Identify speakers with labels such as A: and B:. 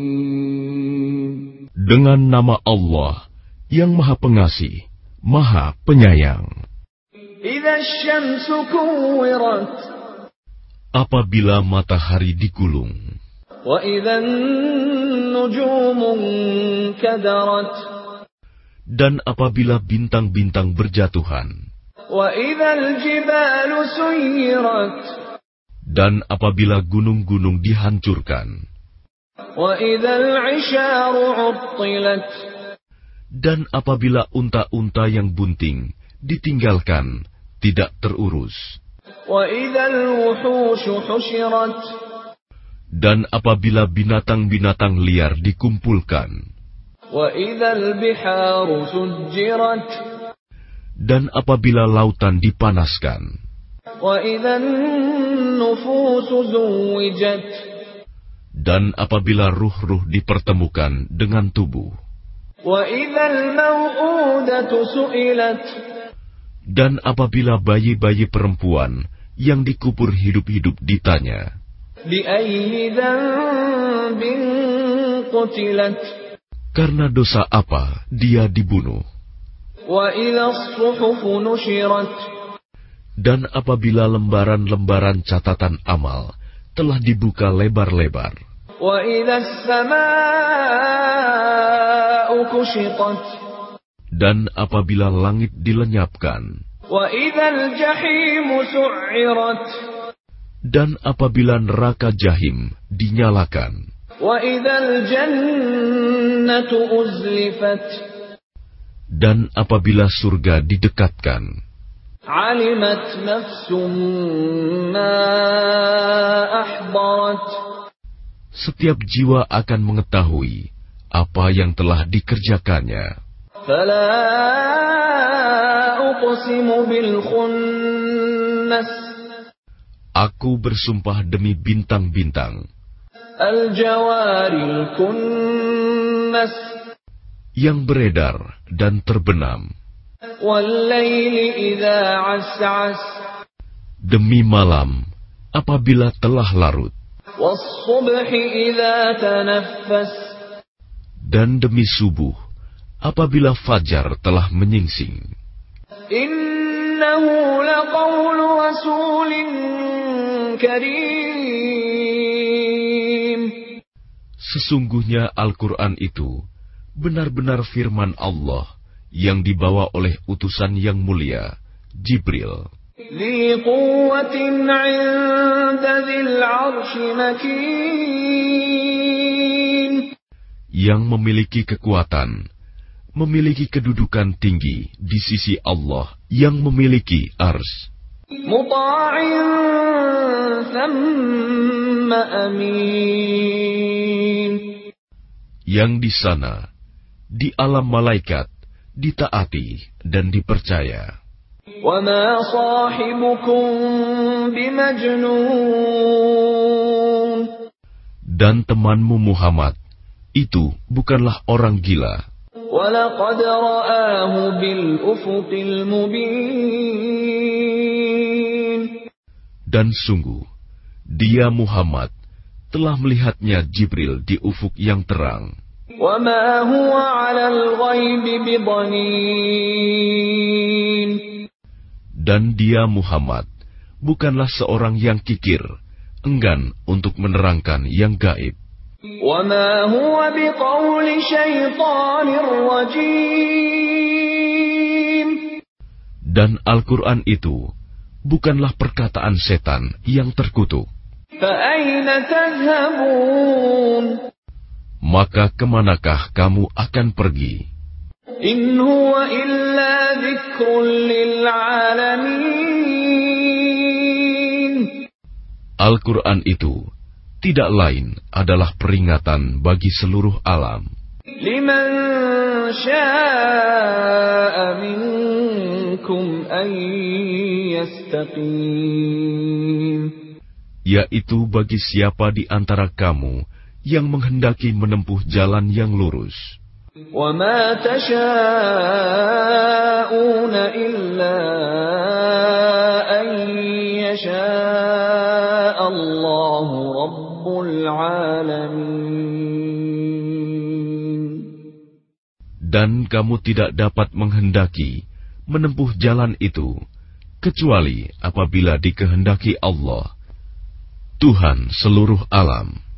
A: Bismillahirrahmanirrahim.
B: Dengan nama Allah yang Maha Pengasih, Maha Penyayang.
A: Idza asy-syamsu kuwirat
B: Apabila matahari digulung
A: wa idza an-nujumu kadarat
B: dan apabila bintang-bintang berjatuhan
A: wa idza al-jibalu suyirat
B: dan apabila gunung-gunung dihancurkan
A: wa idza al-'isharu 'uttilat
B: dan apabila unta-unta yang bunting ditinggalkan tidak terurus
A: wa idza al-wuhushu hushirat
B: dan apabila binatang-binatang liar dikumpulkan
A: wa idza al-biharu sujjirat
B: dan apabila lautan dipanaskan
A: وإذا النفوس زوجت
B: dan apabila ruh-ruh dipertemukan dengan tubuh
A: وإذا الموءودة سئلت
B: dan apabila bayi-bayi perempuan yang dikubur hidup-hidup ditanya
A: بأي ذنب قتلت
B: karena dosa apa dia dibunuh
A: وإذا الصحف نشرت
B: dan apabila lembaran-lembaran catatan amal telah dibuka lebar-lebar
A: وإذا السماء كشطت
B: dan apabila langit dilenyapkan
A: وإذا الجحيم سعرت
B: dan apabila neraka jahim dinyalakan
A: وإذا الجنة أزلفت
B: dan apabila surga didekatkan
A: علمت نفس ما أحضرت
B: setiap jiwa akan mengetahui apa yang telah dikerjakannya
A: فلا أقسم بالخنس
B: aku bersumpah demi bintang-bintang
A: الجوار الكنس
B: yang beredar dan terbenam
A: والليل إذا عسعس
B: demi malam apabila telah larut
A: والصبح إذا تنفس
B: dan demi subuh apabila fajar telah menyingsing
A: إنه لقول رسول كريم
B: sesungguhnya Al-Qur'an itu benar-benar firman Allah yang dibawa oleh utusan yang mulia Jibril
A: ذي قوة عند ذي العرش مكين
B: yang memiliki kekuatan memiliki kedudukan tinggi di sisi Allah yang memiliki ars
A: مطاع ثم أمين
B: yang di sana di alam malaikat ditaati dan dipercaya
A: وما صاحبكم بمجنون
B: dan temanmu Muhammad itu bukanlah orang gila
A: ولقد رآه بالأفق المبين
B: dan sungguh dia Muhammad telah melihatnya Jibril di ufuk yang terang
A: وما هو على الغيب بضنين
B: dan dia Muhammad bukanlah seorang yang kikir enggan untuk menerangkan yang gaib
A: وما هو بقول شيطان رجيم
B: dan Al-Qur'an itu bukanlah perkataan setan yang terkutuk
A: فأين تذهبون
B: maka kemanakah kamu akan pergi
A: إن هو إلا ذكر للعالمين
B: Al-Qur'an itu tidak lain adalah peringatan bagi seluruh alam
A: لمن شاء منكم أن يستقيم
B: yaitu bagi siapa di antara kamu yang menghendaki menempuh jalan yang lurus,
A: وما تشاءون إلا أن يشاء Rabbul Alamin.
B: dan kamu tidak dapat menghendaki menempuh jalan itu, kecuali apabila dikehendaki Allah, Tuhan seluruh alam.